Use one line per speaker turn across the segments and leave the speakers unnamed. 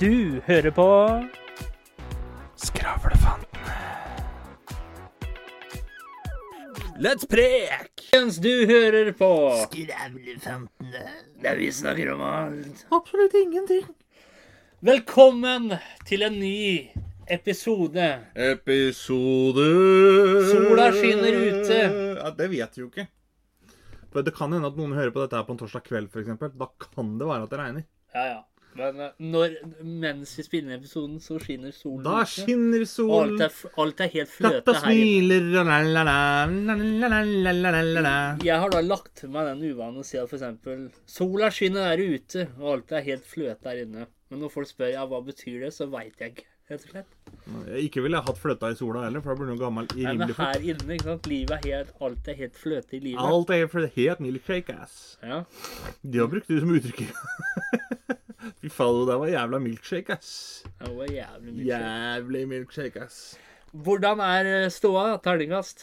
Du hører på
Skravlefantene. Let's prek!
Mens du hører på
Skravlefantene. Der vi snakker om alt.
Absolutt ingenting. Velkommen til en ny episode.
Episode
Sola skinner ute.
Ja, det vet vi jo ikke. For Det kan hende at noen hører på dette her på en torsdag kveld, f.eks. Da kan det være at det regner.
Ja, ja. Men eh, når, mens vi spiller inn episoden, så skinner solen.
Da
ute.
skinner
Og alt
solen.
er, f- alt er helt fløte
Katta
her. inne.
smiler la-la-la-la-la-la-la-la-la.
Jeg har da lagt til meg den uvanen å si at f.eks. sola skinner der ute, og alt er helt fløte der inne. Men når folk spør ja, hva betyr det, så veit jeg ikke, rett og slett.
Ikke ville jeg hatt fløta i sola heller, for da blir du gammel i
Men
rimelig fort.
her inne, ikke sant. Livet er helt, alt er helt fløte i livet.
Alt er helt- helt milkshake ass.
Ja.
Det har brukt du som uttrykk. Fy faen, det der var jævla milkshake, ass.
Det var jævlig mye.
Jævlig milkshake, ass.
Hvordan er eh, ståa? Terningkast?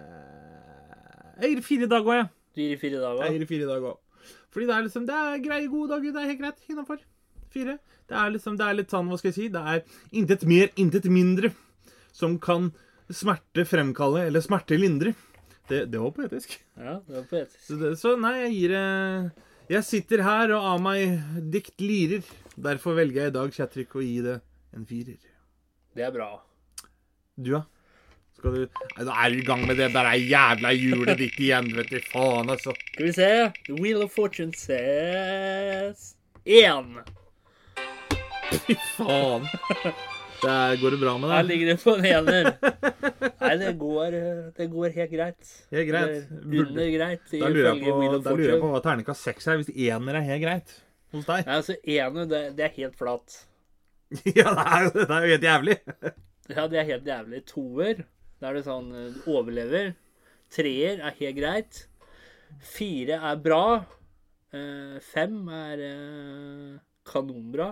Eh, Jeg gir fire i dag òg, jeg.
Du gir i fire dager?
Jeg gir fire i dag også. Fordi det er liksom Det er greie, gode dager. Det er helt greit innafor. Fire. Det er liksom Det er litt sånn, hva skal jeg si Det er intet mer, intet mindre som kan smerte fremkalle eller smerte lindre. Det, det var poetisk.
Ja, det var poetisk.
Så, det, så nei, jeg gir eh, Jeg sitter her og av meg dikt lirer. Derfor velger jeg i dag Chatrik å gi det en firer.
Det er bra.
Du, ja? Skal du Nei, Nå er du i gang med det der er jævla hjulet ditt igjen, vet du. Faen, altså.
Skal vi se. The Wheel of Fortune says én.
Fy faen. Der går det bra med
Her
deg.
ligger det på en ener. Nei, det går, eh, det går helt greit.
Helt greit.
Eller Under greit,
Da lurer, jeg
ifølge Wheel
på,
of
da lurer jeg
Fortune.
på hva terningkast seks er, hvis ener er helt greit hos deg.
Nei, altså ener, det, det er helt flatt.
Ja, det er jo, det er jo helt jævlig.
Ja, det er helt jævlig. Toer, da er det sånn eh, du overlever. Treer er helt greit. Fire er bra. Eh, Fem er eh, kanonbra.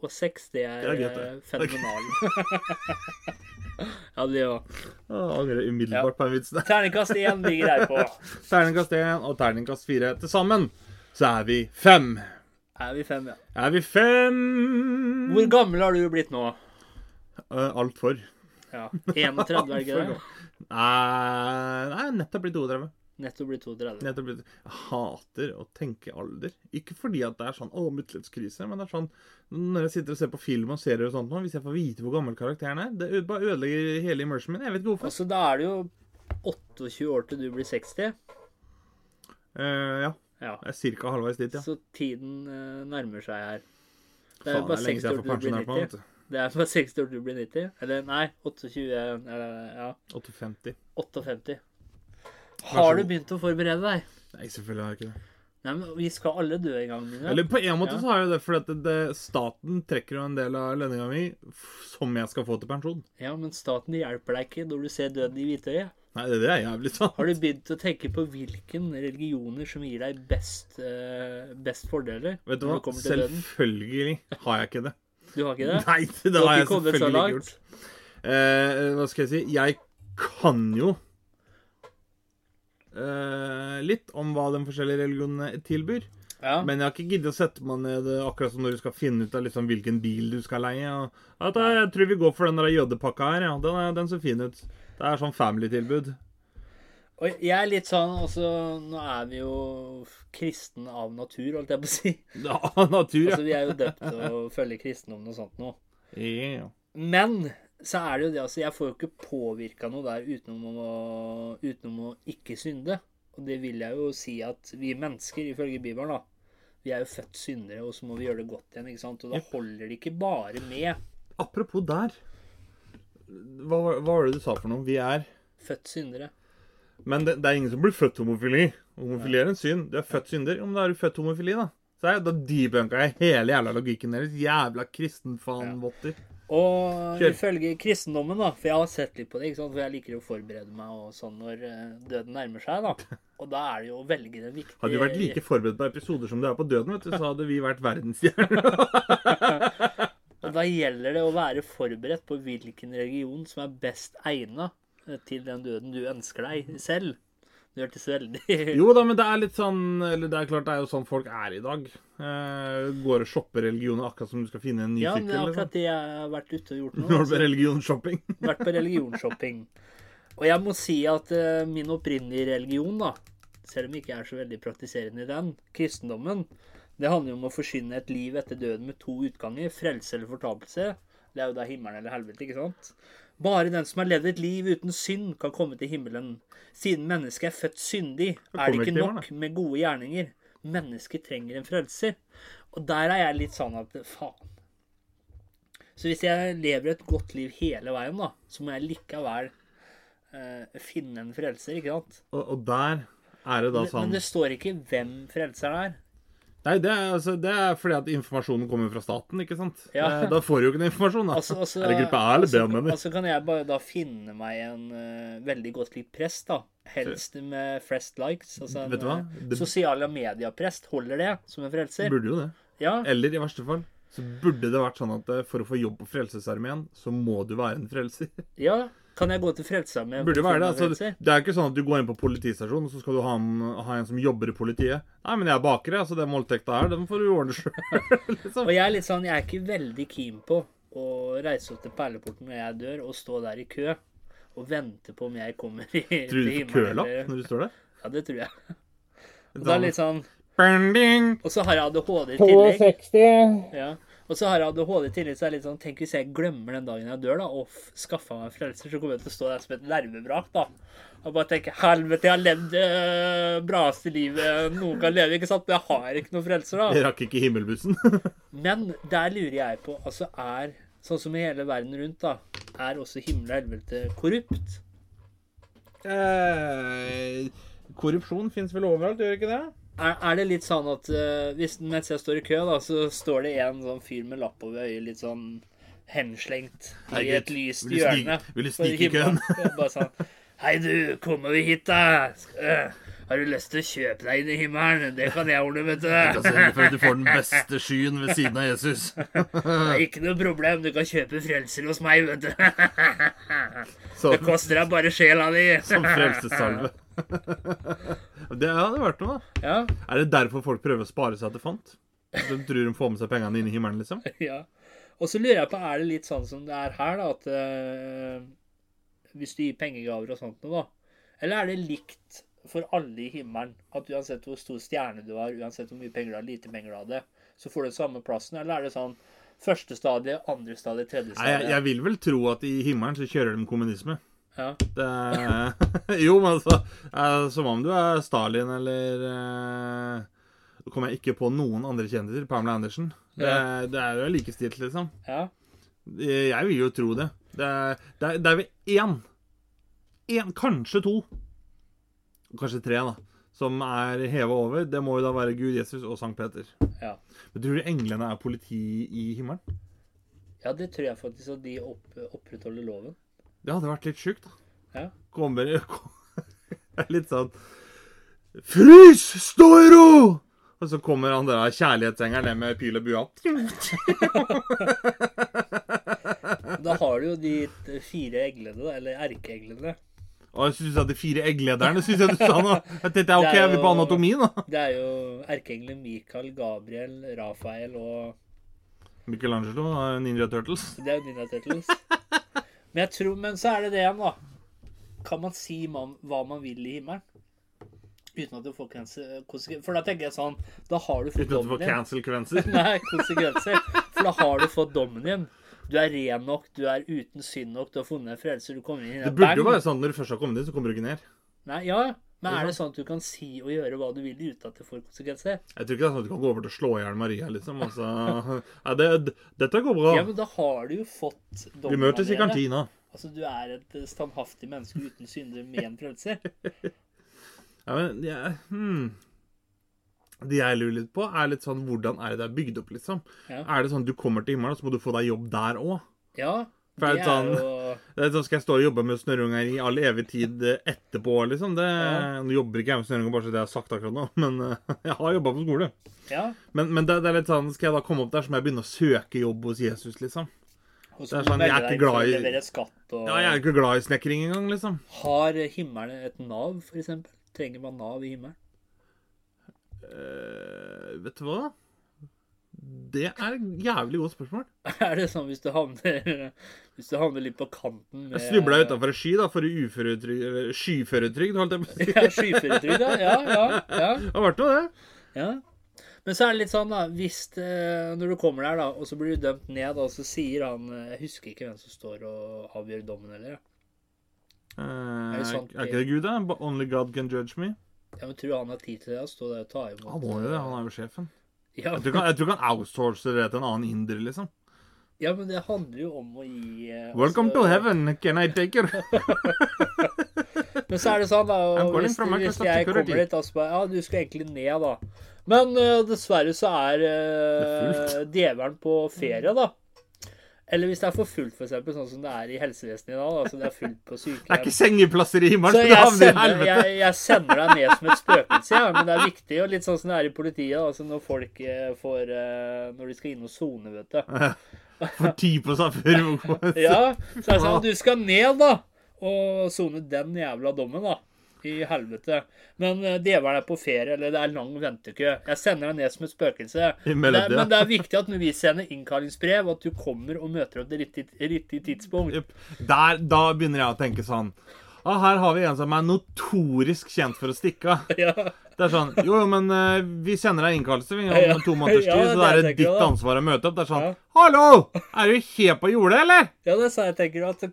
Og seks, det er,
Det er greit,
eh,
det.
fenomenal. ja, det òg.
Å, Angrer umiddelbart på den vitsen der.
Terningkast én ligger her på.
Terningkast én og terningkast fire. Til sammen så er vi fem.
Er vi fem, ja.
Er vi fem
Hvor gammel har du blitt nå?
uh, Altfor.
Ja, 31, er det ikke det?
Nei, nei, nettopp blitt 32.
Nettopp blitt 32.
Nettopp blitt Jeg hater å tenke alder. Ikke fordi at det er sånn å, midtlivskrise, men det er sånn når jeg sitter og ser på film og serier og sånt nå, hvis jeg får vite hvor gammel karakteren er, det ø- bare ødelegger hele immersionen min. Jeg vet ikke hvorfor.
Altså, da er det jo 28 år til du blir 60.
Eh, ja.
Ja.
Jeg er ca. halvveis dit, ja.
Så tiden eh, nærmer seg her. Det er
Faen,
jo bare
lenge
60 år til
siden jeg får
du blir
pensjonert meg.
90. Det er bare 60 år til du blir 90. Eller nei, 28 eller eh, ja,
vet du. 850.
58.
Vær så
Har du
god.
begynt å forberede deg?
Nei, selvfølgelig har jeg ikke det.
Nei, men Vi skal alle dø en gang. Nina.
Eller på en måte
Ja.
så har jeg det, for at det, det, staten trekker jo en del av lønninga mi f- som jeg skal få til pensjon.
Ja, Men staten hjelper deg ikke når du ser døden i hvitøyet.
Nei, det, det er jævlig sant.
Har du begynt å tenke på hvilken religioner som gir deg best, eh, best fordeler?
Vet du
når
hva?
kommer til døden?
Selvfølgelig har jeg ikke det.
Du har ikke det?
Nei, det,
Du
har
har
jeg
ikke kommet så
selvfølgelig ikke gjort.
langt?
Eh, hva skal jeg si? Jeg kan jo eh, litt om hva de forskjellige religionene tilbyr.
Ja.
Men jeg har ikke giddet å sette meg ned eh, akkurat som når du skal finne ut av liksom hvilken bil du skal leie. Og, at eh, jeg tror vi går for den der jødepakka her. Ja. Den, er, den ser fin ut. Det er sånn family-tilbud.
Og jeg er litt sånn også Nå er vi jo kristne av natur, holdt jeg på å si.
Ja, natur, ja.
Altså, vi er jo døpt til å følge kristendommen og sånt noe.
ja.
Men så er det jo det, altså. Jeg får jo ikke påvirka noe der utenom å, utenom å ikke synde. Og det vil jeg jo si at vi mennesker, ifølge Bibelen, da, vi er jo født syndere, og så må vi gjøre det godt igjen, ikke sant. Og da holder det ikke bare med
Apropos der. Hva, var- hva var det du sa for noe? Vi er
født syndere.
Men det, det er ingen som blir født homofili. Homofili er en synd. Du er født synder. Jo, men da er du født homofili, da. Så jeg, da debunka jeg hele jævla logikken deres. Jævla kristenfanvotter.
Og
Kjør.
ifølge kristendommen, da, for jeg har sett litt på det, ikke sant? for jeg liker jo å forberede meg og sånn når eh, døden nærmer seg, da. Og da er det jo å velge den viktige
Hadde du vært like forberedt på episoder som du er på døden, vet du, så hadde vi vært verdensstjerner.
Og da gjelder det å være forberedt på eh, hvilken religion som er best egna til den døden du ønsker deg selv. Det hørtes veldig
Jo da, men det er litt sånn Eller det er klart det er jo sånn folk er i dag. Eh, går og shopper religioner akkurat som du skal finne en ny
Ja, men
sykkel.
det er
liksom.
akkurat det jeg har vært ute og gjort nå.
Når det
altså.
blir religionsshopping.
Vært på religionsshopping. Og jeg må si at eh, min opprinnelige religion, da, selv om jeg ikke er så veldig praktiserende i den, kristendommen, det handler jo om å forsyne et liv etter døden med to utganger, frelse eller fortapelse. Det er jo da himmelen eller helvete, ikke sant? Bare den som har levd et liv uten synd, kan komme til himmelen. Siden mennesket er født syndig, er det
kommer
ikke
ikke til
nok med gode gjerninger. Mennesket trenger en frelser. Og der er jeg litt sånn at faen, så hvis jeg lever et godt liv hele veien, da, så må jeg likevel eh, finne en frelser, ikke sant?
Og, og der er det da
Men,
sånn
men det står ikke hvem frelseren er.
Nei, det er, altså, det er fordi at informasjonen kommer fra staten, ikke sant?
Ja.
Eh, Da får du jo ikke den informasjonen. Da.
Altså, altså,
er det gruppe A eller B
altså-
han mener?
Altså kan jeg bare da finne meg en eh, veldig godt likt prest, da. Helst med flest likes. Altså en
Vet du hva?
eh,
Det-
sosiale medier-prest holder det som en frelser.
Burde jo det.
Ja.
Eller i verste fall så burde det vært sånn at eh, for å få jobb på Frelsesarmeen, så må du være en frelser.
ja. Kan jeg gå til frelseren med
Burde jo være det.
med
altså.
frelser?
Det er ikke sånn at du går inn på politistasjonen, og så skal du ha en, ha en som jobber i politiet. Nei, men jeg er baker, jeg, så den voldtekta her, den får du ordne sjøl. liksom.
Og jeg er litt sånn, jeg er ikke veldig keen på å reise opp til perleporten når jeg dør, og stå der i kø og vente på om jeg kommer i,
Tror du
til
du får
himmelen,
kølapp
eller-
når du står der?
Ja, det tror jeg. Og, da er det litt sånn,
Bending!
og så har jeg ADHD i tillegg. Ja. Og så har jeg ADHD i tillegg, så er det litt sånn, tenk hvis jeg glemmer den dagen jeg dør, da, og f- skaffer meg frelser, så kommer jeg til å stå der som et nervebrak, da. Og bare tenke, helvete, jeg har levd det braeste livet noen kan leve, ikke sant? Men jeg har ikke noen frelser, da.
Jeg rakk ikke himmelbussen.
Men der lurer jeg på Altså er, sånn som i hele verden rundt da Er også himmel og helvete korrupt?
Eh, korrupsjon fins vel overalt, gjør ikke det?
Er, er det litt sånn at eh, hvis, mens jeg står i kø da Så står det en sånn fyr med lapp over øyet Litt sånn henslengt I
Herregud,
et lyst
vil du snike-
hjørne
vil du
på
snike i køen?
himmelen. Bare sånn Hei du, kom over hit da Sk- eh, Har du lyst til å kjøpe deg inn i himmelen? Det kan jeg ordne, vet
Skal
du
sørge for at du får den beste skyen ved siden av Jesus.
Det er ikke noe problem, du kan kjøpe frelser hos meg, vet du
Som,
Det koster deg bare sjela di
som frelsessalve. Det hadde vært noe, da.
Ja,
Er det derfor folk prøver å spare seg til fant? De tror de får med seg pengene inn i himmelen, liksom?
Ja. Og så lurer jeg på, er det litt sånn som det er her, da, at eh, hvis du gir pengegaver og sånt noe, da, eller er det likt for alle i himmelen, at uansett hvor stor stjerne du har, uansett hvor mye penger du har, lite penger du hadde, så får du den samme plassen, eller er det sånn første stadie, andre stadie, tredje
Nei, jeg,
stadie?
jeg vil vel tro at i himmelen så kjører de kommunisme.
Ja.
Det er, jo, men altså eh, Som om du er Stalin eller eh, Nå kommer jeg ikke på noen andre kjendiser. Pamela Andersen. Det,
Ja.
det er jo likestilt, liksom.
ja.
Jeg vil jo tro det. Det er, det er, det er vel én, én, kanskje to, kanskje tre, da, som er heva over. Det må jo da være Gud, Jesus og Sankt Peter.
Ja.
Men tror du englene er politi i himmelen?
Ja, det tror jeg faktisk at de opp, opprettholder loven.
Det hadde vært litt sjukt, da.
Ja.
Kommer Det er litt sånn Frys! Stå i ro! Og så kommer han der kjærlighetsengelen ned med pil og bue.
Da har du jo de t- fire eglene, da, eller erkeeglene.
Og jeg synes at de fire egglederne synes jeg du sa nå. Jeg tenkte OK,
Det er
jeg vil på
jo-
anatomi, da.
Det er jo erkeengelen Mikael, Gabriel, Rafael og
Michelangelo og Ninja Turtles.
Det er jo Ninja Turtles. Men jeg tror, men så er det det igjen, da. Kan man si man, hva man vil i himmelen? Uten at det får konse- konsekvenser. For da tenker jeg sånn Da har du fått
Uten at du
dommen
får
din.
cancel-kvenser.
Nei, konsekvenser. For da har du fått dommen din. Du er ren nok, du er uten synd nok, du har funnet en frelser, du kommer inn i
Det burde jo være sånn at når du først har kommet inn, så kommer du ikke ned.
Nei, ja, men er det sånn at du kan si og gjøre hva du vil uten at det får konsekvenser?
Jeg tror ikke det er sånn at du kan gå over til å slå i hjel Maria, liksom. Altså, ja, det, d- dette går bra.
Ja, men da har du jo fått dommen.
Vi møtes i
allerede.
kantina.
Altså, du er et eh, standhaftig menneske uten synder med en frelser.
Ja, men jeg- hmm. Det jeg lurer litt på, er litt sånn hvordan er det det er bygd opp, liksom?
Ja.
Er det sånn at du kommer til himmelen, og så må du få deg jobb der òg?
Ja,
For
det er
det er sånn-
jo
Sånn skal jeg stå og jobbe med snørrunger i all evig tid eh, etterpå, liksom? Det,
Ja.
Nå jobber ikke jeg med snørrunger, bare så det jeg har sagt akkurat nå, men eh, jeg har jobba på skole.
Ja.
Men, men det, det er litt sånn, skal jeg da komme opp der, så må jeg begynne å søke jobb hos Jesus, liksom?
Og
Det
så
er sånn, jeg er ikke glad i-
Levere skatt og
Ja, jeg er jo ikke glad i snekring engang, liksom.
Har himmelen et nav, for eksempel? Trenger man Nav i himmelen?
Eh, vet du hva? Det er et jævlig godt spørsmål.
Er det sånn hvis du havner Hvis du havner litt på kanten med
Jeg snubla utafor ei sky da, for uføretrygd eller Skyføretrygd, holdt jeg på å si.
Ja, Skyføretrygd, ja. Ja, ja, ja.
Det har vært noe, det.
Ja. Men så er det litt sånn, da Hvis det, Når du kommer der, da, og så blir du dømt ned, og så sier han eh, Jeg husker ikke hvem som står og avgjør dommen, eller?
Eh,
det
er,
sant?
er ikke det Gud, da? But Only God can judge me.
Jeg men tror han har tid til det. å Stå der og ta imot eh,
Han må jo det, han er jo sjefen.
Ja,
Jeg tror ikke han- jeg tror ikke han outsourcer det til en annen inder, liksom.
ja, men det handler jo om å gi eh,
Welcome
altså-
to heaven, can I take her?
Men så er det sånn, da
I'm
og
calling
Hvis,
from
hvis
Microsoft
jeg kommer
Security.
dit, da så bare Ja, du skal egentlig ned, da. Men eh, dessverre så er eh,
Det
djevelen på ferie, da. Eller hvis det er for fullt, for eksempel, sånn som det er i helsevesenet i dag. da, så det er fullt på
Det er
sykehjem.
ikke sengeplasser i himmelen,
Så
så du
jeg
havner i
sender,
helvete.
jeg, jeg sender deg ned som et spøkelse, ja, men det er viktig. og Litt sånn som det er i politiet. Altså når folk eh, får eh, Når de skal inn og sone, vet du.
For ti på seg før hun kommer.
Ja, så er det sånn Du skal ned, da! Og sone den jævla dommen, da. I helvete. Men eh, djevelen er på ferie, eller det er lang ventekø. Jeg sender deg ned som et spøkelse. Men det,
I
er-
mellomtida.
men det er viktig at når vi sender innkallingsbrev, at du kommer og møter opp til riktig, riktig tidspunkt.
Jupp. Der, da begynner jeg å tenke sånn ah, Her har vi en som er notorisk kjent for å stikke av.
Ja.
Det er sånn Jo, jo, men eh, vi sender deg innkallelse vi,
Ja.
om to måneders
Ja,
tid, så det
det
er
tenker jeg
ditt
da.
ansvar å møte opp. Det er sånn
Ja.
Hallo! Er du helt på jordet, eller?
ja, det sa jeg, tenker du. At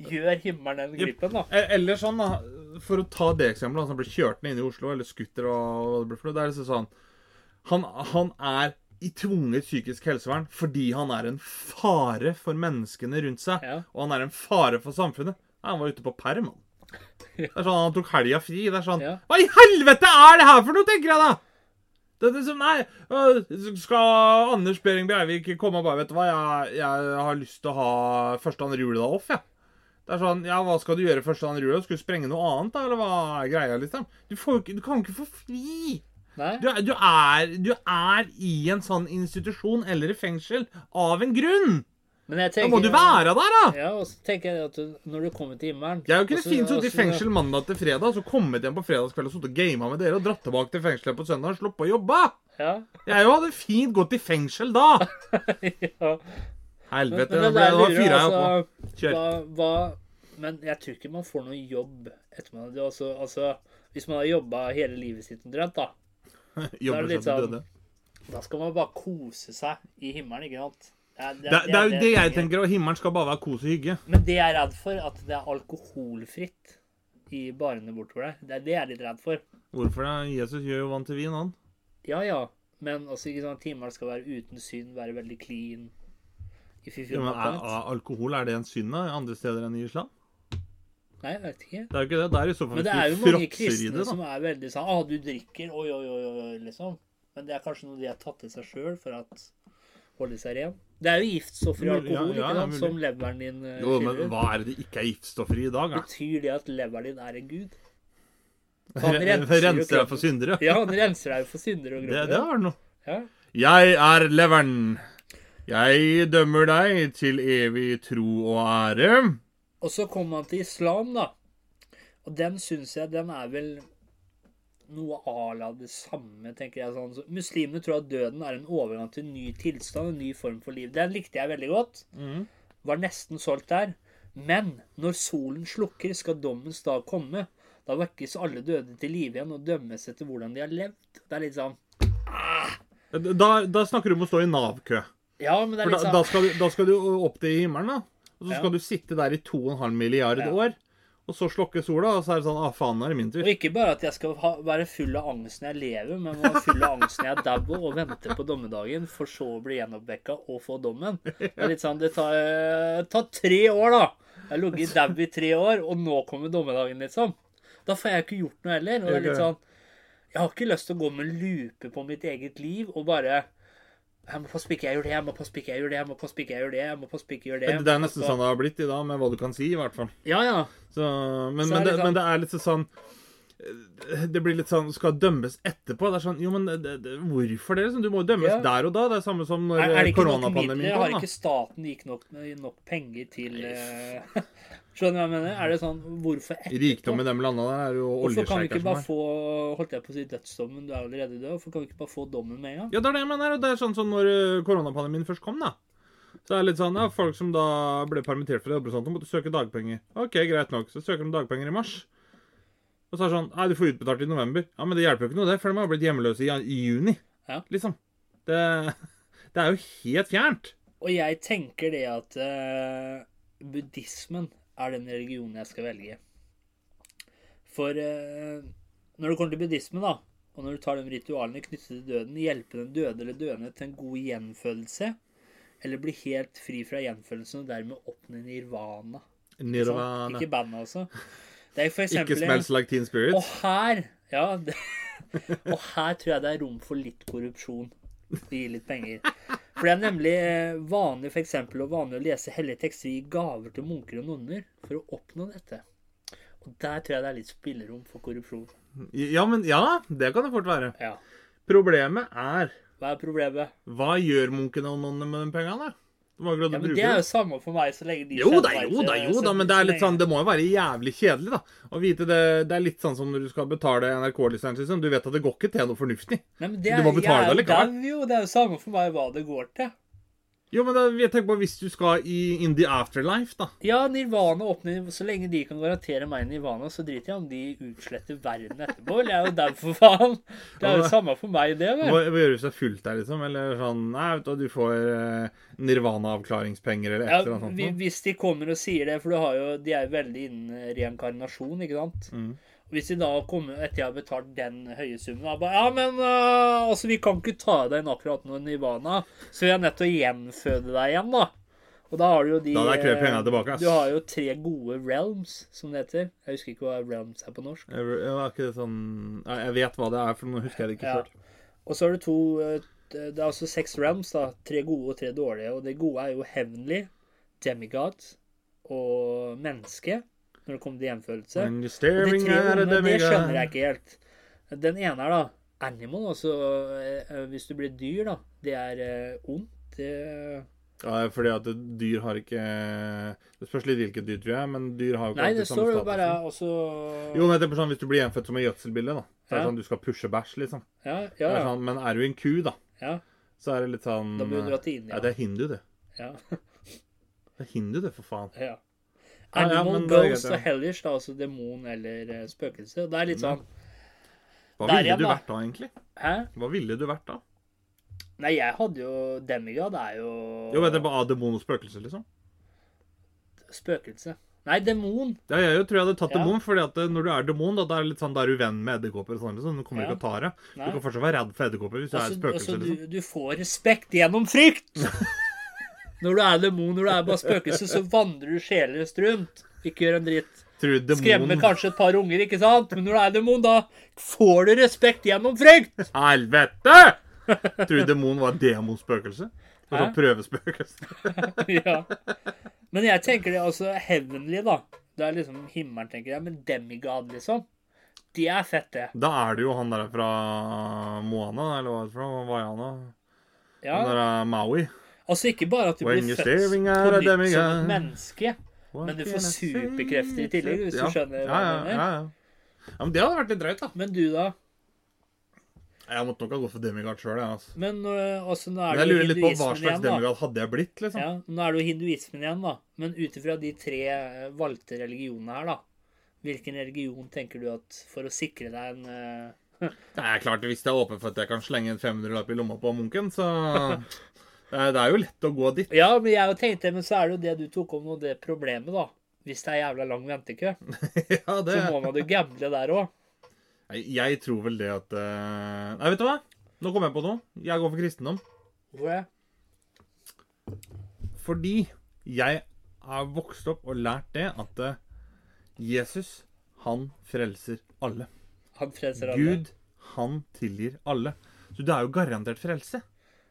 gjør himmelen den glippen, da.
E- Eller sånn, da. For å ta det eksempelet, han som ble kjørt ned inn i Oslo, eller skutter og hva det ble for noe. Det er liksom sånn han, han er i tvunget psykisk helsevern fordi han er en fare for menneskene rundt seg.
Ja.
Og han er en fare for samfunnet. Nei, han var ute på perm, han. Det er sånn, Han tok helga fri. Det er sånn
Ja.
Hva i helvete er det her for noe, tenker jeg da! Det er liksom, nei, øh, Skal Anders Behring Breivik komme og bare Vet du hva, jeg, jeg har lyst til å ha første andre jula off, jeg. Det er sånn, ja, Hva skal du gjøre første andre jula? Skal du sprenge noe annet, da? Eller hva er greia, liksom? Du, får, jo ikke- du kan ikke få fri!
Nei?
Du, er- du, er, du er i en sånn institusjon eller i fengsel av en grunn!
Men jeg
Da
tenker,
må du være der, da!
Ja, og så tenker jeg at du, når du kommer til himmelen
Jeg kunne
også-
fint sittet i
også-
fengsel mandag til fredag, så kommet hjem på fredagskveld og sittet og gama med dere og dratt tilbake til fengselet på søndag og sluppet å jobbe.
Ja.
Jeg jo hadde fint gått i fengsel da.
ja. Men,
Helvete,
men det
da ble
der
da
lurer jeg
fyra jeg opp.
altså
Kjør.
hva, hva, Men jeg tror ikke man får noe jobb etter man det er også, altså, Hvis man har jobba hele livet sitt omtrent, da. det er
Jobber
litt
seg til
sånn-
døde.
Da skal man bare kose seg i himmelen, ikke sant?
Det, det er jo det jeg tenker, og himmelen skal bare være kos og hygge.
Men det jeg er redd for, at det er alkoholfritt i barene bortover der. Det er det jeg er litt redd for.
Hvorfor det? Jesus gjør jo vann til vin, han.
Ja, ja. Men altså, ikke sant, himmelen skal være uten synd, være veldig clean. If you
Ja,
feel
men
my
er,
point.
er alkohol, er det en synd da, andre steder enn i Island?
Nei, jeg vet ikke.
Det er jo ikke det. Det er i så fall
Men det
hvis
er
du
jo mange
fråtser i
kristne
det, da.
som er veldig sånn ah, du drikker, oi, oi, oi, oi, liksom. Men det er kanskje noe de har tatt til seg sjøl for at holde seg ren. Det er jo giftstoffer i
Mulig, ja,
alkohol,
ja,
ikke
ja,
sant,
mulig.
som leveren din eh,
Jo, men
skiller ut.
hva er det det ikke er giftstoffer i i dag, da?
Betyr det at leveren din er en gud? Han renser jo
Renser deg
kroppen.
for syndere?
Ja, han renser deg jo for synder og
Det, det
grunner.
var det noe.
Ja.
Jeg er leveren. Jeg dømmer deg til evig tro og ære.
Og så kommer han til islam, da. Og den syns jeg den er vel noe à la det samme, tenker jeg. sånn. Så muslimene tror at døden er en overgang til en ny tilstand, en ny form for liv. Den likte jeg veldig godt. Var nesten solgt der. Men når solen slukker, skal dommens dag komme. Da vekkes alle døde til live igjen og dømmes etter hvordan de har levd. Det er litt sånn
Da, da snakker du om å stå i Nav-kø.
Ja, men det er
For
litt
da, da,
sånn
skal du, da skal du opp til himmelen, da. Og så
Ja.
skal du sitte der i 2,5 milliard
Ja.
år. Og så slukker sola, og så er det sånn Ah, faen, nå er det min tur.
Og ikke bare at jeg skal ha, være full av angst når jeg lever, men jeg må være full av angst når jeg dauer og venter på dommedagen, for så å bli gjenoppvekka og få dommen. Det er litt sånn, det tar, eh, tar tre år, da. Jeg har ligget dau i tre år, og nå kommer dommedagen, liksom. Da får jeg ikke gjort noe heller. Og det er litt sånn Jeg har ikke lyst til å gå med lupe på mitt eget liv og bare jeg må passe på ikke jeg gjør det, jeg må passe på ikke jeg gjør det, jeg må passe på ikke jeg gjør det. jeg må passe på ikke jeg gjør det.
Det det er nesten sånn det har blitt i dag, med hva du kan si, i hvert fall.
Ja, ja.
Så, men,
Så er det
men, det,
sånn-
men det er litt sånn eh, Det blir litt sånn Skal dømmes etterpå? Det er sånn Jo, men det, det, hvorfor det? Liksom? Du må jo dømmes
Ja.
der og da. Det er samme som når sånn,
Er, er det ikke nok midler?
koronapandemien
Har
kom.
ikke staten gitt nok, nok penger til eh, Skjønner du hva jeg mener? Er det sånn Hvorfor etterpå?
Rikdom i de landene der er jo
Hvorfor kan vi ikke
oljesjeiker som
bare
er
få holdt jeg på å si dødsdommen? Du er allerede død. Hvorfor kan vi ikke bare få dommen med en gang?
Ja, det er det jeg mener. og Det er sånn som når eh, koronapandemien først kom, da. Så det er litt sånn, ja, Folk som da ble permittert fra jobb, og sånt, de måtte søke dagpenger. OK, greit nok. Så søker de dagpenger i mars. Og så er det sånn Nei, du får utbetalt i november. Ja, Men det hjelper jo ikke noe, det, for de har blitt hjemløse i, jan- i juni.
Ja.
Liksom. Det, det er jo helt fjernt.
Og jeg tenker det at eh, buddhismen er den religionen jeg skal velge. For eh, når det kommer til buddhismen, da, og når du tar de ritualene knyttet til døden, hjelpe den døde eller døende til en god gjenfødelse, eller bli helt fri fra gjenfødelsen og dermed oppnå nirvana. Ikke sant?
Nirvana.
Ikke bandet, altså. Det er for eksempel
Ikke smells like teen spirit.
Og her Ja. Det, og her tror jeg det er rom for litt korrupsjon. Og gi litt penger. For det er nemlig eh, vanlig for eksempel, og vanlig å lese hellige tekster og gi gaver til munker og nonner for å oppnå dette. Og der tror jeg det er litt spillerom for korrupsjon.
Ja, men ja, det kan det fort være.
Ja.
Problemet er
Hva er problemet?
Hva gjør munkene og nonnene med de pengene? De har jo
Ja,
ikke lov til å
men
bruke
Det er
dem.
jo samme for meg så lenge de
Jo da,
skjønner
jo
at,
da,
eh,
jo da,
så-
men det er
så
litt
lenge-
sånn, det må jo være jævlig kjedelig, da. Å vite det Det er litt sånn som når du skal betale NRK-lisensen. liksom. Du vet at det går ikke til noe fornuftig.
Nei, men det
Du må
er-
betale
jeg er
det
jo
likevel.
dau, Jo, det er jo samme for meg hva det går til.
Jo, men da, jeg tenker på hvis du skal i In the Afterlife, da.
Ja, Nirvana åpner Så lenge de kan garantere meg Nirvana, så driter jeg om de utsletter verden etterpå. Eller jeg er jo dau, for faen. Det er jo det samme for meg, det.
Må,
Vel.
må gjøre seg fullt der, liksom. Eller sånn Nei, vet du, du får eh, nirvana-avklaringspenger eller et
Ja,
eller annet sånt.
vi-
noe.
hvis de kommer og sier det, for du har jo, de er jo veldig innen reinkarnasjon, ikke sant.
Mm.
Hvis de da kommer etter jeg har betalt den høye summen da bare, Ja, men øh, altså, vi kan ikke ta deg inn akkurat nå, Nirvana, så vi er nødt til å gjenføde deg igjen, da. Og da har du jo de
Da hadde jeg krevd
eh,
pengene tilbake, ass.
Du har jo tre gode realms, som det heter. Jeg husker ikke hva realms er på norsk.
Jeg, jeg, var ikke det sånn, Nei, jeg vet hva det er, for nå husker jeg det ikke
Ja.
sjøl.
Og så har du to eh, Det er altså seks realms, da. Tre gode og tre dårlige. Og det gode er jo Heavenly, Demigod og menneske, når det kommer til gjenfølelse.
When you're
Og de
staring
tre
at a
onde, det
demigod.
skjønner jeg ikke helt. Den ene er da animal, altså eh, hvis du blir dyr, da. Det er eh, ondt. Det
Ja, fordi at dyr har ikke Det spørs litt hvilket dyr, tror jeg, men dyr har jo ikke
Nei, det
alltid samme
står jo
status.
bare også
Jo, men jeg tenker på sånn, Hvis du blir gjenfødt som en gjødselbille, da Så er det
Ja.
sånn, Du skal pushe bæsj, liksom.
Ja,
Det
ja.
er
ja.
sånn, men er du en ku, da,
ja.
så er det litt sånn
Da blir du dratt til
ja.
India.
det er hindu, det.
Ja.
Det er hindu, det, for faen.
Ja.
Ja, ja,
Animal,
men det er greit,
ghost
ja. Mm.
og hellish, da, altså demon eller eh, spøkelse. Og det er litt sånn
Hva
Der igjen,
ville du
da.
vært da, egentlig?
Hæ?
Hva ville du vært da?
Nei, jeg hadde jo Demigod er jo,
Jo, men det er bare demon og spøkelse, liksom.
spøkelse. Nei, demon.
Ja, jeg jo tror jeg hadde tatt
Ja.
demon, fordi at eh, når du er demon, da, da er det litt sånn, da er du venn med edderkopper og sånn, liksom. Du kommer
Ja.
ikke og tar deg. Du
Nei.
kan fortsatt være redd for edderkopper hvis du er
Altså,
et spøkelse,
altså du,
liksom.
du får respekt gjennom frykt! Når du er demon, når du er bare spøkelse, så vandrer du sjeleløst rundt. Ikke gjør en dritt.
Tror du
Skremmer
demon
kanskje et par unger, ikke sant? Men når du er demon, da får du respekt gjennom frykt!
Helvete! Tror du demonen var et demonspøkelse? Og så
Hæ?
prøvespøkelse?
ja. Men jeg tenker det altså heavenly, da. Det er liksom himmelen, tenker jeg. Men demigod, liksom. De er fett, det.
Da er det jo han der fra Moana, eller hva er det fra? Hva er han da?
Ja.
Han der er Maui.
Altså ikke bare at du
When
blir
you're
født
staring
på
at a
nytt som
demigod.
et menneske. Men du får superkrefter i tillegg, hvis du skjønner hva
ja, ja,
jeg mener.
Ja, ja. ja, men det hadde vært litt drøyt, da.
Men du, da?
Jeg måtte nok ha gått for demigod sjøl, jeg. Altså.
Men øh, altså, nå er
Men jeg
det jo
lurer litt på hva
hinduismen
slags
igjen, da.
demigod hadde jeg blitt, liksom.
Ja, nå er det jo hinduismen igjen, da. Men ut ifra de tre øh, valgte religionene her, da. Hvilken religion tenker du at For å sikre deg en øh,
Det er klart, hvis det er åpent for at jeg kan slenge en 500-lapp i lomma på munken, så Det er- Det er jo lett å gå dit.
Ja, men jeg tenkte, men så er det jo det du tok om nå, det problemet, da. Hvis det er jævla lang ventekø,
Ja,
så
det
må man jo gamble der òg.
Nei, Jeg tror vel det at eh, Nei, vet du hva? Nå kom jeg på noe. Jeg går for kristendom. Fordi jeg har vokst opp og lært det at eh, Jesus, han frelser alle.
Han frelser alle.
Gud, han tilgir alle. Så du er jo garantert frelse.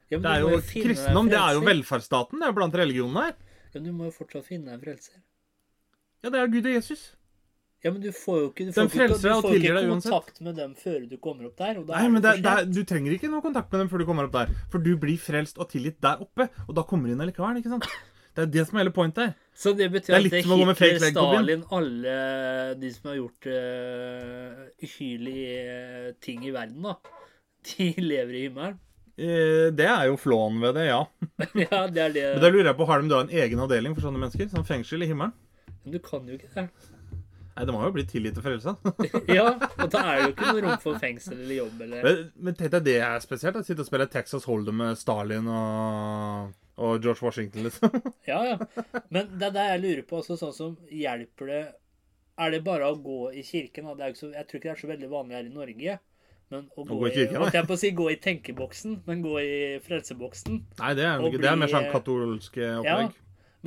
Ja, men
Det er
du må
jo
finne deg en
Kristendom det er jo
frelser.
velferdsstaten det er jo blant religionene her.
Ja, men du må jo fortsatt finne en frelser.
Ja, det er Gud og Jesus.
Ja, men du får jo ikke Du får, ikke,
Den
du
frelser er jo
får ikke
tilgitt deg uansett.
kontakt med dem før du kommer opp der. Og da
Nei,
er
men det,
for
det,
sent.
er- Du trenger ikke noe kontakt med dem før du kommer opp der. For du blir frelst og tilgitt der oppe, og da kommer du inn allikevel. ikke sant? Det er det som er hele pointet her.
Så det betyr
Det er
at
litt
det
som å gå med
Hitler,
fake leg på byen.
Stalin, alle de som har gjort uh, uhyrlige eh, ting i verden, da, de lever i himmelen?
Eh, Det er jo flåen ved det, ja.
ja, det er det.
Men da lurer jeg på, Har de da en egen avdeling for sånne mennesker? Sånn fengsel i himmelen?
Men du kan jo ikke det.
Nei, De har jo blitt tilgitt og frelsa.
Ja, og da er det jo ikke noe rom for fengsel eller jobb eller
Men men tenk deg det er spesielt. da. Sitte og spille Texas Hold'em med Stalin og, og George Washington, liksom.
Ja, ja. Men det er det jeg lurer på, altså sånn som hjelper det Er det bare å gå i kirken? da? Det er jo ikke så, jeg tror ikke det er så veldig vanlig her i Norge. Men å gå,
gå i
i,
kirken,
holdt jeg på å si, gå i tenkeboksen, men gå i frelseboksen.
Nei, det er,
Og
jo ikke, det er mer
bli- eh,
sånn katolske
Ja.
opplegg.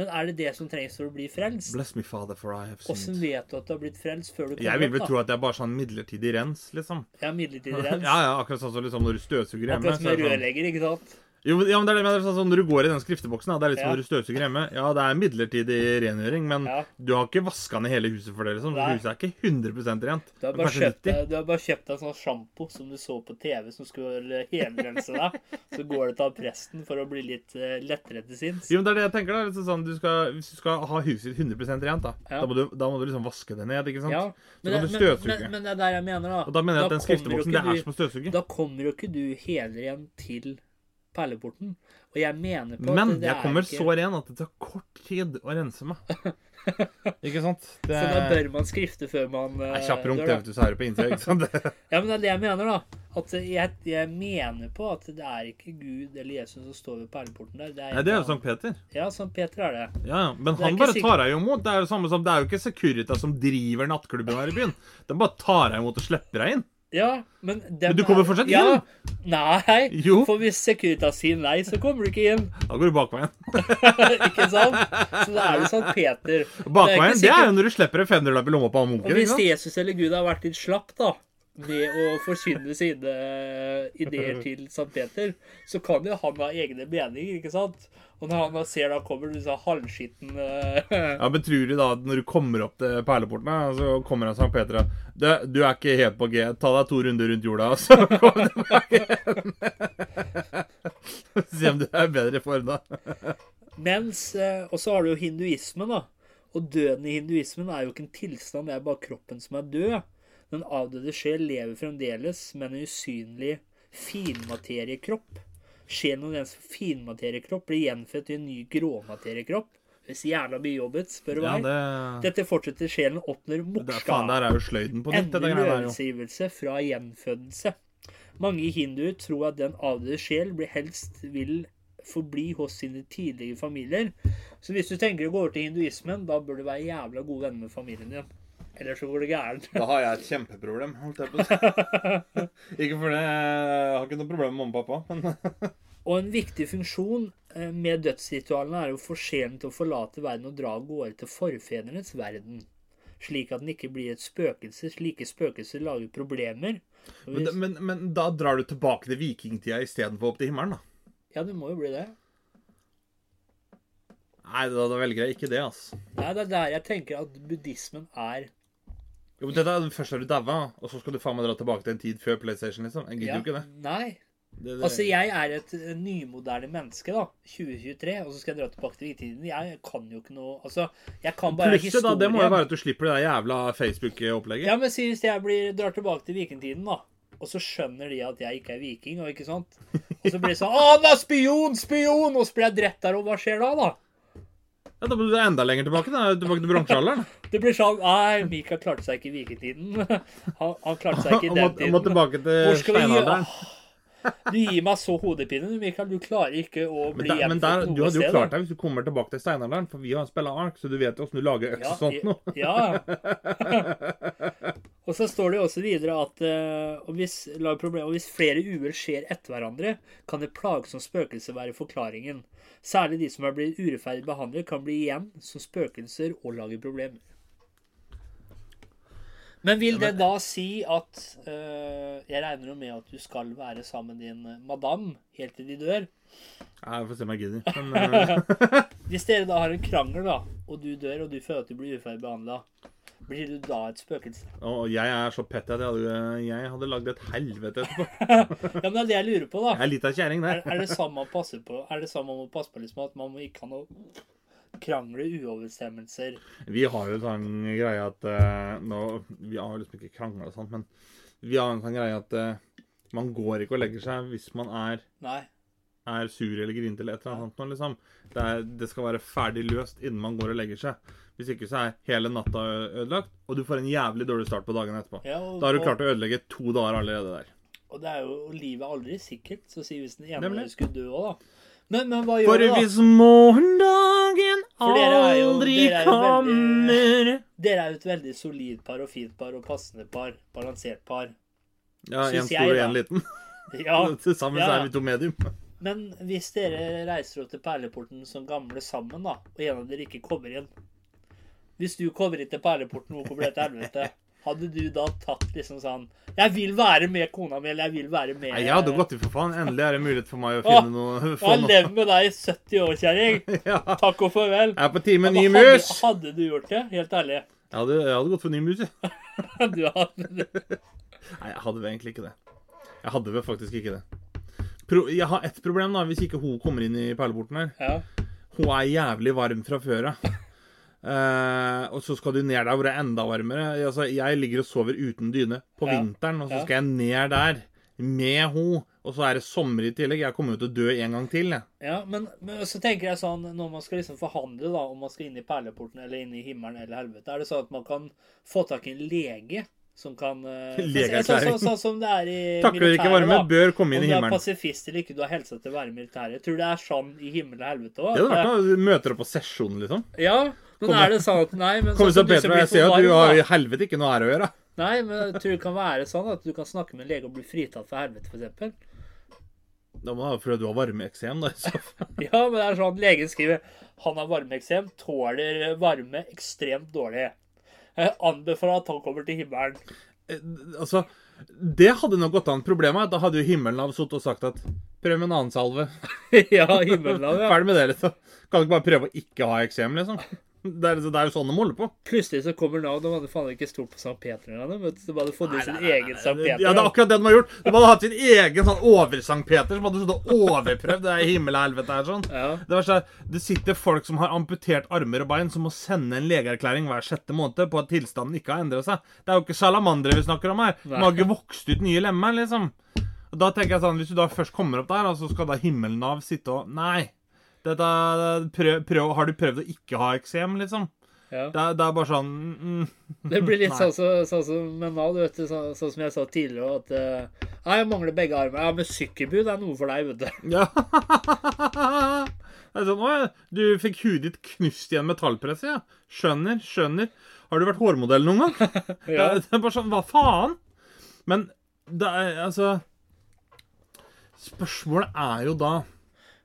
Men er det det som trengs for å bli frelst?
Bless me, father, for I have
Åssen
sinned.
vet du at du har blitt frelst før du
Jeg vil
kommer
vel
opp?
tro at det er bare sånn midlertidig rens, liksom.
da? Ja, midlertidig
Ja,
rens.
ja, akkurat sånn som liksom når du støvsuger hjemme.
Akkurat som
så er
en
det sånn,
rørlegger, ikke sant?
jo, men- ja, men det er det, men det er sånn som Når du går i den skrifteboksen, da, det er litt som
Ja.
når du støvsuger hjemme. Ja, det er midlertidig rengjøring, men
Ja.
du har ikke vaska ned hele huset for det, liksom.
Nei.
Huset er ikke 100 rent.
Du har,
men
bare
kanskje
kjøpt, deg- du har bare kjøpt deg en sånn sjampo som du så på TV, som skulle helrense deg. Så går du til presten for å bli litt eh, lettere til sinns.
Jo, men det er det jeg tenker da, liksom sånn, du skal, Hvis du skal ha huset ditt 100 rent, da,
Ja.
da, må du, da må du liksom vaske det ned. ikke sant?
Ja, men,
kan
det- men,
du støvsuge.
men, men det er der jeg mener, da.
Og Da mener jeg at
kommer jo
den skrifteboksen, det
ikke
er
du-
som å støvsuge.
Da kommer jo ikke du helren til perleporten. Og jeg mener på
Men
at det
jeg
er
kommer
ikke
så ren at det tar kort tid å rense meg. Ikke sant? Det
Så da bør man skrifte før man eh,
er Eh, kjapp runk,
dør,
det,
da.
vet du, så er det på innsida. ikke sant? Det-
Ja, men det er det jeg mener, da. At jeg, jeg mener på at det er ikke Gud eller Jesus som står ved perleporten der. Det er,
Nei, det er jo sånn- Sankt Peter.
Ja, Sankt Peter er det.
Ja, ja. Men
Det er
han
ikke
bare
sikkert-
tar deg jo imot. Det er jo samme som, det er jo ikke Securitas som driver nattklubben her i byen. De bare tar deg imot og slipper deg inn.
Ja, men dem
Men du kommer fortsatt
ja,
inn.
Nei,
Jo.
for hvis Securitas sier nei, så kommer du ikke inn.
Da går du bakveien.
ikke sant? Så da er det Sankt Peter.
Bakveien, det er
sikkert-
jo når du slipper en 500-lapp i lomma på han
Og
munken.
hvis
ikke sant?
Jesus eller Gud har vært litt slapp, da, med å forkynne sine eh, ideer til Sankt Peter, så kan jo han ha egne meninger, ikke sant? Og når han da ser da kommer disse halvskitten eh,
Ja, men tror du da at når du kommer opp til perleporten, her, så kommer han Sankt Peter og du, du er ikke helt på G. Ta deg to runder rundt jorda, og så kommer du tilbake igjen. Se om du er i bedre form da.
Mens, eh, og så har du jo hinduismen, da. Og døden i hinduismen er jo ikke en tilstand, det er bare kroppen som er død. Den avdøde sjel lever fremdeles, men en usynlig finmateriekropp. Sjelen og dens finmateriekropp blir gjenfødt i en ny gråmateriekropp. Hvis jævla mye jobbet, spør du
Ja,
meg.
det,
Dette fortsetter sjelen opp når
det er, Faen,
morskap
der er jo sløyden på nytt. dette
endelig
greiene der, jo.
løsrivelse fra gjenfødelse. Mange hinduer tror at den avdøde sjel blir helst vil forbli hos sine tidligere familier. Så hvis du tenker å gå over til hinduismen, da bør du være jævla god venn med familien din. Ellers så går det gærent.
Da har jeg et kjempeproblem, holdt jeg på å si. Ikke for det, jeg har ikke noe problem med mamma og pappa, men
Og en viktig funksjon eh, med dødsritualene er å få sjelen til å forlate verden og dra av gårde til forfedrenes verden. Slik at den ikke blir et spøkelse. Slike spøkelser lager problemer. Og
men,
hvis-
men, men da drar du tilbake til vikingtida istedenfor opp til himmelen, da.
Ja, det må jo bli det.
Nei, da, da velger jeg ikke det, altså.
Nei, det er der jeg tenker at buddhismen er
Jo, men dette er Først er du daua, og så skal du faen meg dra tilbake til en tid før PlayStation, liksom. Jeg gidder jo ikke det.
Nei.
det, det
Altså, jeg er et eh, nymoderne menneske, da. 2023. Og så skal jeg dra tilbake til vikingtiden. Jeg kan jo ikke noe Altså, jeg kan bare
Plusset da, det må jo være at du slipper det der jævla Facebook-opplegget.
Ja, men si hvis jeg blir, drar tilbake til vikingtiden, da. Og så skjønner de at jeg ikke er viking, og ikke sant? Og så blir det sånn Å, han er spion! Spion! Og så blir jeg drept der, og hva skjer da, da?
Ja. Da må du enda lenger tilbake. da, Tilbake til bronsealderen.
Det blir sånn Nei, Mikael klarte seg ikke i vikingtiden. Han, han klarte seg ikke
Og
i den
må, må
tiden.
tilbake
Hvor
til
skal vi gjøre
steinalderen.
Du gir meg så hodepine, du, Mikael. Du klarer ikke å
Men,
bli
der, men der,
gjenfødt
du
noe
hadde jo
sted.
klart deg hvis du kommer tilbake til steinalderen, for vi har spilla ark, så du vet jo åssen du lager øks og sånt noe.
Ja. og så står det jo også videre at eh, og hvis, la problem, og hvis flere uhell skjer etter hverandre, kan det plagsomt spøkelse være forklaringen. Særlig de som er blitt urettferdig behandlet, kan bli igjen som spøkelser og lage problemer. Men vil det da si at eh, Jeg regner jo med at du skal være sammen med din madam helt til de dør.
Nei, Jeg får se om jeg gidder. Men, eh,
Hvis dere da har en krangel, da, og du dør, og du føler at du blir urettferdig behandla, blir du da et spøkelse?
og jeg er så petty at jeg hadde, jeg hadde lagd et helvete etterpå.
Ja, men det er det jeg lurer på, da.
Jeg er litt av kjerring,
Er,
der.
er det samme man passer på? Er det samme man må passe på liksom at man må ikke ha noe krangler, uoverstemmelser.
Vi har jo en sånn greie at eh, nå, Vi har liksom ikke krangla og sånt, men vi har en sånn greie at eh, man går ikke og legger seg hvis man er,
Nei.
er sur eller grinete eller et eller annet sånt. noe, Liksom. Det, er, det skal være ferdig løst innen man går og legger seg. Hvis ikke så er hele natta ø- ødelagt, og du får en jævlig dårlig start på dagen etterpå.
Ja, og,
Da har du klart å ødelegge to dager allerede der.
Og, og det er jo livet er aldri sikkert, så si hvis den ene
Nemlig.
av dere skulle dø òg, da. Men, men hva gjør
For
du, da?
hvis morgendagen
For dere er jo-
aldri
dere er jo
kommer
veldig- Dere er jo et veldig solid par og fint par og passende par. Balansert par.
Ja, én
Synes jeg,
stor og
da.
én liten.
Ja.
Til sammen så
Ja.
er vi to medium.
Men hvis dere reiser opp til Perleporten som gamle sammen, da, og en av dere ikke kommer inn Hvis du kommer inn til Perleporten og kommer til helvete, hadde du da tatt liksom sånn Jeg vil være med kona mi, eller jeg vil være med
Nei, jeg hadde gått i for faen. Endelig er det mulighet for meg å
Åh,
finne noe.
Jeg
Få
har
noe.
levd med deg i 70 år, kjerring.
Ja.
Takk og farvel.
Jeg er på tide med ny
Ja, men hadde-
mus.
Hadde du gjort det? Helt ærlig.
Jeg hadde, jeg hadde gått for ny mus, jeg.
Du hadde
Nei, jeg hadde vel egentlig ikke det. Jeg hadde vel faktisk ikke det. Pro jeg har ett problem, da, hvis ikke hun kommer inn i perleporten her.
Ja.
Hun er jævlig varm fra før av. Eh, og så skal du ned der hvor det er enda varmere. Altså, jeg ligger og sover uten dyne på
Ja.
vinteren, og så
Ja.
skal jeg ned der med hun. Og så er det sommer i tillegg. Jeg kommer jo til å dø en gang til. Jeg.
Ja, men, men så tenker jeg sånn, når man skal liksom forhandle da, om man skal inn i perleporten eller inn i himmelen eller helvete, er det sånn at man kan få tak i en lege som kan eh,
Legeerklæring.
Sånn, sånn, sånn som det er i
Takler ikke varme,
da.
bør komme inn
Om
i
du er
himmelen.
pasifist eller ikke, du har helse til å være i militæret. Jeg tror det er sånn i himmel og helvete
Det hadde vært
òg.
noe. Du møter opp på sesjon, liksom.
Ja, men
Kommer-
er det sånn at Nei, men
Kom
sånn
så
som du som
Petra,
blir
jeg ser
for
at du
varm, da.
har i helvete ikke noe her å gjøre.
Nei, men jeg tror det kan være sånn at du kan snakke med en lege og bli fritatt for helvete, f.eks.
Da må det være fordi du har varmeeksem, da. Så.
Ja, men det er sånn legen skriver Han har varmeeksem, tåler varme ekstremt dårlig. Jeg anbefaler at han kommer til himmelen.
Eh, Altså, det hadde nok gått an. Problemet er at da hadde jo himmelen av sittet og sagt at prøv med en annen salve.
ja, himmelen av ja.
Ferdig med det, liksom. Kan du ikke bare prøve å ikke ha eksem, liksom? Det er, det er jo sånn de holder på.
Plutselig så kommer Nav, de hadde faen ikke stolt på St. Peter engang. de, vet Du De hadde fått ut sin egen St.
Ja,
Peter.
det er akkurat det de har gjort. De hadde hatt sin egen sånn over-Sankt Peter som hadde sittet og overprøvd det der himmel og helvete her sånn.
ja.
Det verste er, det sitter folk som har amputert armer og bein, som må sende en legeerklæring hver sjette måned på at tilstanden ikke har endret seg. Det er jo ikke salamandere vi snakker om her. De har ikke vokst ut nye lemmer, liksom. Og da tenker jeg sånn, Hvis du da først kommer opp der, og så skal da Himmel-Nav sitte og Nei. Dette, prøv, prøv, har du prøvd å ikke ha eksem, liksom?
Ja.
Det er, det er bare sånn mm,
Det blir litt
Nei.
sånn som sånn, som med Nav, du vet du, sånn, sånn som jeg sa tidligere, at eh, Nei, jeg mangler begge armer. Ja, men sykkelbud er noe for deg, vet du.
Ja. Det er sånn, «Åja, du fikk hudet ditt knust i en metallpresse, ja. Skjønner, skjønner. Har du vært hårmodell noen gang?
Ja.
Det er bare sånn, hva faen? Men det er, altså Spørsmålet er jo da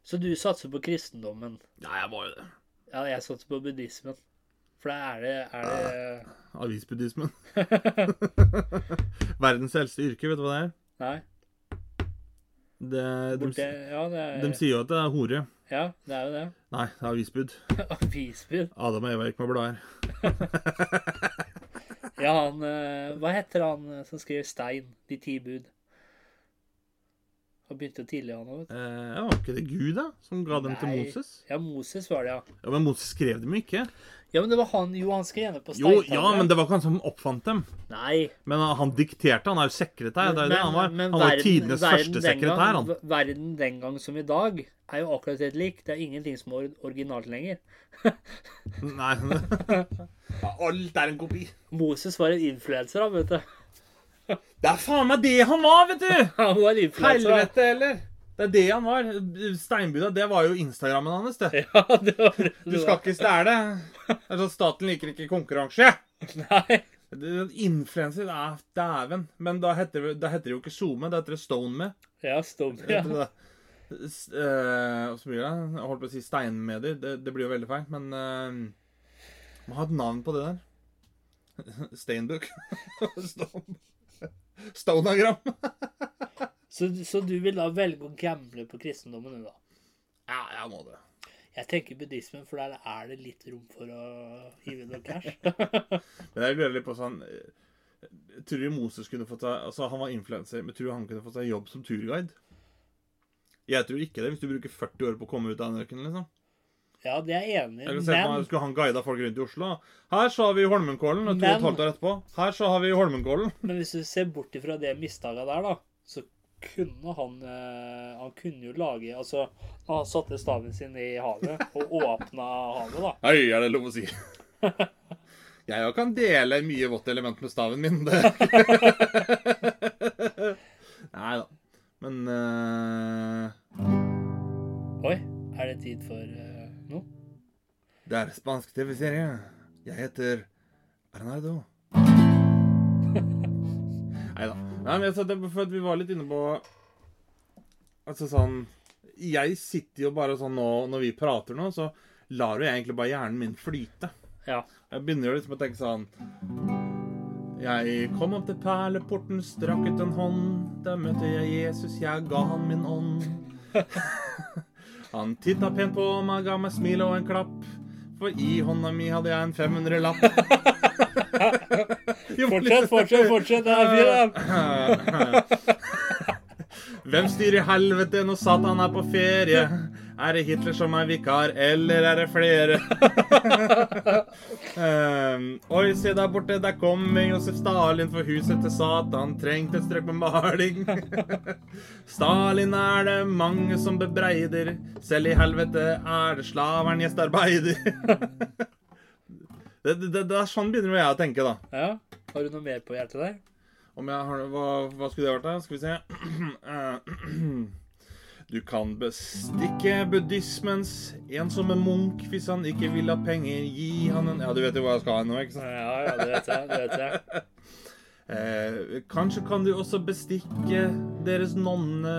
Så du satser på kristendommen.
Nei, jeg må jo det.
Ja, jeg satser på buddhismen. For da er det, er det
Avisbuddhismen. Verdens eldste yrke, vet du hva det er?
Nei.
Det,
Borte,
de,
ja, det er,
de sier jo at det er hore.
ja, det er jo det.
Nei, det er avisbud.
Avisbud.
Adam og Eva gikk med blader.
Ja, han eh, Hva heter han eh, som skrev 'Stein'? De ti bud. Han begynte jo tidlig, han òg.
Eh, ja, var ikke det Gud, da, som ga dem til
Nei.
Moses?
Ja, Moses var det, ja.
Ja, Men Moses skrev dem jo ikke.
Ja, men det var han jo, han skrev ned på
Jo,
steintavla.
ja, men det var ikke han som oppfant dem.
Nei.
Men han dikterte. Han er jo sekretær. Det er jo det han var.
men
Han var
verden-
tidenes
verden
første
den gang-
sekretær, han.
v- Verden den gang som i dag er jo akkurat helt lik. Det er ingenting som er or- originalt lenger.
Nei. Alt er en kopi.
Moses var en influenser, han, vet du.
Det er faen meg det han var, vet du!
Han var en influenser. han.
Helvete heller. Det er det han var. Steinbuda, det var jo Instagrammen hans, det.
Ja, det var det.
Du skal ikke stjele. Det er sånn staten liker ikke konkurranse.
Nei.
Influenser er dæven. Men da heter, det- da heter det jo ikke SoMe, det heter det StoneMe.
Ja, stum. Ja.
Heter det det? S- eh, og så blir det Jeg holdt på å si steinmedier. Det, det blir jo veldig feil, men eh, Må ha et navn på det der. Steinbook. Stone. Stonagram.
Så, så du vil da velge å gamble på kristendommen, du da?
Ja, jeg må det.
Jeg tenker buddhismen, for der er det litt rom for å hive noe cash.
Men jeg lurer litt på sånn eh, Tror du Moses kunne fått seg Altså, han var influenser, men tror du han kunne fått seg jobb som turguide? Jeg tror ikke det, hvis du bruker 40 år på å komme ut av en ørken, liksom.
Ja, det er jeg enig
Jeg
i,
kan se på meg,
men
Skulle han guida folk rundt i Oslo? Her så har vi Holmenkollen, og to og
Men-
et halvt år etterpå. Her så har vi Holmenkollen.
Men hvis du ser bort ifra det mistaket der, da, så kunne han eh, Han kunne jo lage Altså, han satte staven sin i havet og åpna havet, da.
Hei, er det lov å si? Jeg òg kan dele mye vått element med staven min. Det. Nei da. Men eh,
Oi, er det tid for eh, noe?
det er spansk TV-serie. Jeg heter Arnardo. Neida. Nei da. Altså, det er for at vi var litt inne på Altså sånn Jeg sitter jo bare sånn nå når vi prater nå, så lar jo jeg egentlig bare hjernen min flyte.
Ja.
Jeg begynner jo liksom å tenke sånn Jeg kom opp til perleporten, strakk ut en hånd. Der møtte jeg Jesus, jeg ga han min ånd. Han titta pent på meg, ga meg smil og en klapp. For i hånda mi hadde jeg en 500-lapp. Jo,
Fortsett, fortsett, fortsett. Det er fint.
Hvem styrer helvete når Satan er på ferie? Er det Hitler som er vikar, eller er det flere? Ehm, oi, se der borte, der kommer Josef Stalin, for huset til Satan trengte et strøk med maling. Stalin er det mange som bebreider, selv i helvete er det slaveren gjestearbeider. det, det, det er sånn begynner jeg å tenke, da.
da. Ja. Har du noe mer på hjertet der?
Om jeg har Hva, hva skulle det vært, da? Skal vi se Du kan bestikke buddhismens ensomme munk hvis han ikke vil ha penger. Gi han en Ja, du vet jo hva jeg skal ha nå, ikke sant?
Ja, ja, det vet jeg. Det vet jeg.
Eh, kanskje kan du også bestikke deres nonne.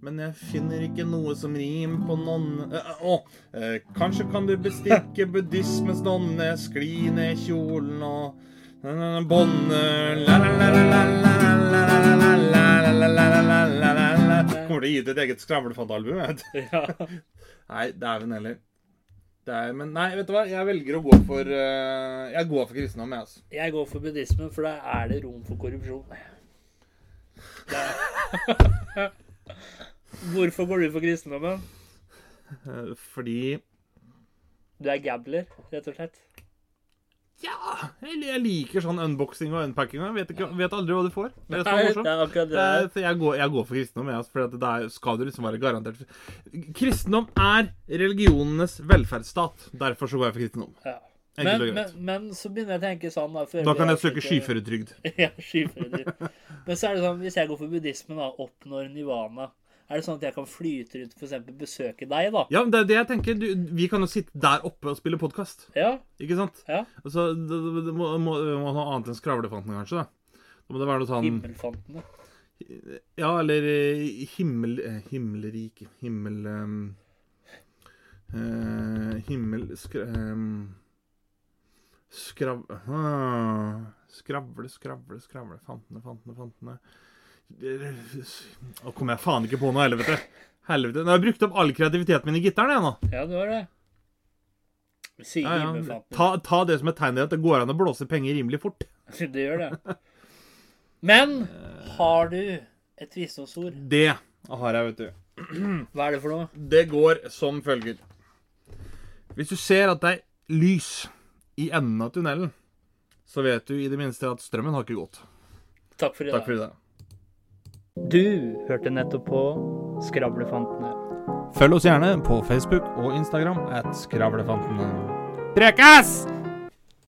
Men jeg finner ikke noe som rim på nonne eh, eh, Å! Eh, kanskje kan du bestikke buddhismens nonne, skli ned kjolen og bånde Kommer til å gi ut et eget skravlefantalbum, jeg vet
Ja.
Nei, dæven heller. Det er, men nei, vet du hva? Jeg velger å gå for eh, Jeg går for kristendom, jeg, altså.
Jeg går for buddhismen, for der er det rom for korrupsjon. Det er- Hvorfor går du for kristendommen?
Eh, Fordi
Du er gambler, rett og slett.
Ja! Jeg, jeg liker sånn unboxing og unpacking. Jeg vet, ikke, vet aldri hva du får. Det er så
Nei, det
morsomt.
er akkurat det.
Eh, så jeg, går, jeg går for kristendom, jeg. altså, For at det er, skal du liksom være garantert Kristendom er religionenes velferdsstat. Derfor så går jeg for kristendom.
Ja.
Enkelt
Men,
og
men,
greit.
men så begynner jeg å tenke sånn Da, før
Da
vi
kan jeg
avslutter-
søke skyføretrygd.
ja, skyføretrygd. Men så er det sånn, hvis jeg går for buddhismen, da, oppnår nivana, er det sånn at jeg kan flyte rundt for eksempel besøke deg, da?
Ja, men det er det jeg tenker. Du, vi kan jo sitte der oppe og spille podkast.
Ja,
Ikke sant?
ja.
Altså, det, det, det må, må, må ha noe annet enn skravlefanten, kanskje. da. Da må det være noe sånn
Himmelfantene.
Ja, eller eh, himmel... eh, Himmelrike Himmel... ehm, eh, himmel... Skra, ehm, skrav... ah, skravle, skravle, skravle. Fantene, fantene, fantene. Nå kommer jeg faen ikke på noe, helvete. Helvete. Nå har jeg brukt opp all kreativiteten min i gitaren, jeg nå.
Ja, du har det. Si
Ja, ja.
himmelfantene.
Ta, ta det som et tegn til at det går an å blåse penger rimelig fort.
Det gjør det. Men har du et visdomsord?
Det har jeg, vet du.
Hva er det for noe?
Det går som følger. Hvis du ser at det er lys i enden av tunnelen, så vet du i det minste at strømmen har ikke gått.
Takk for i dag.
Takk for i dag.
Du hørte nettopp på Skravlefantene.
Følg oss gjerne på Facebook og Instagram at Skravlefantene. Prekes!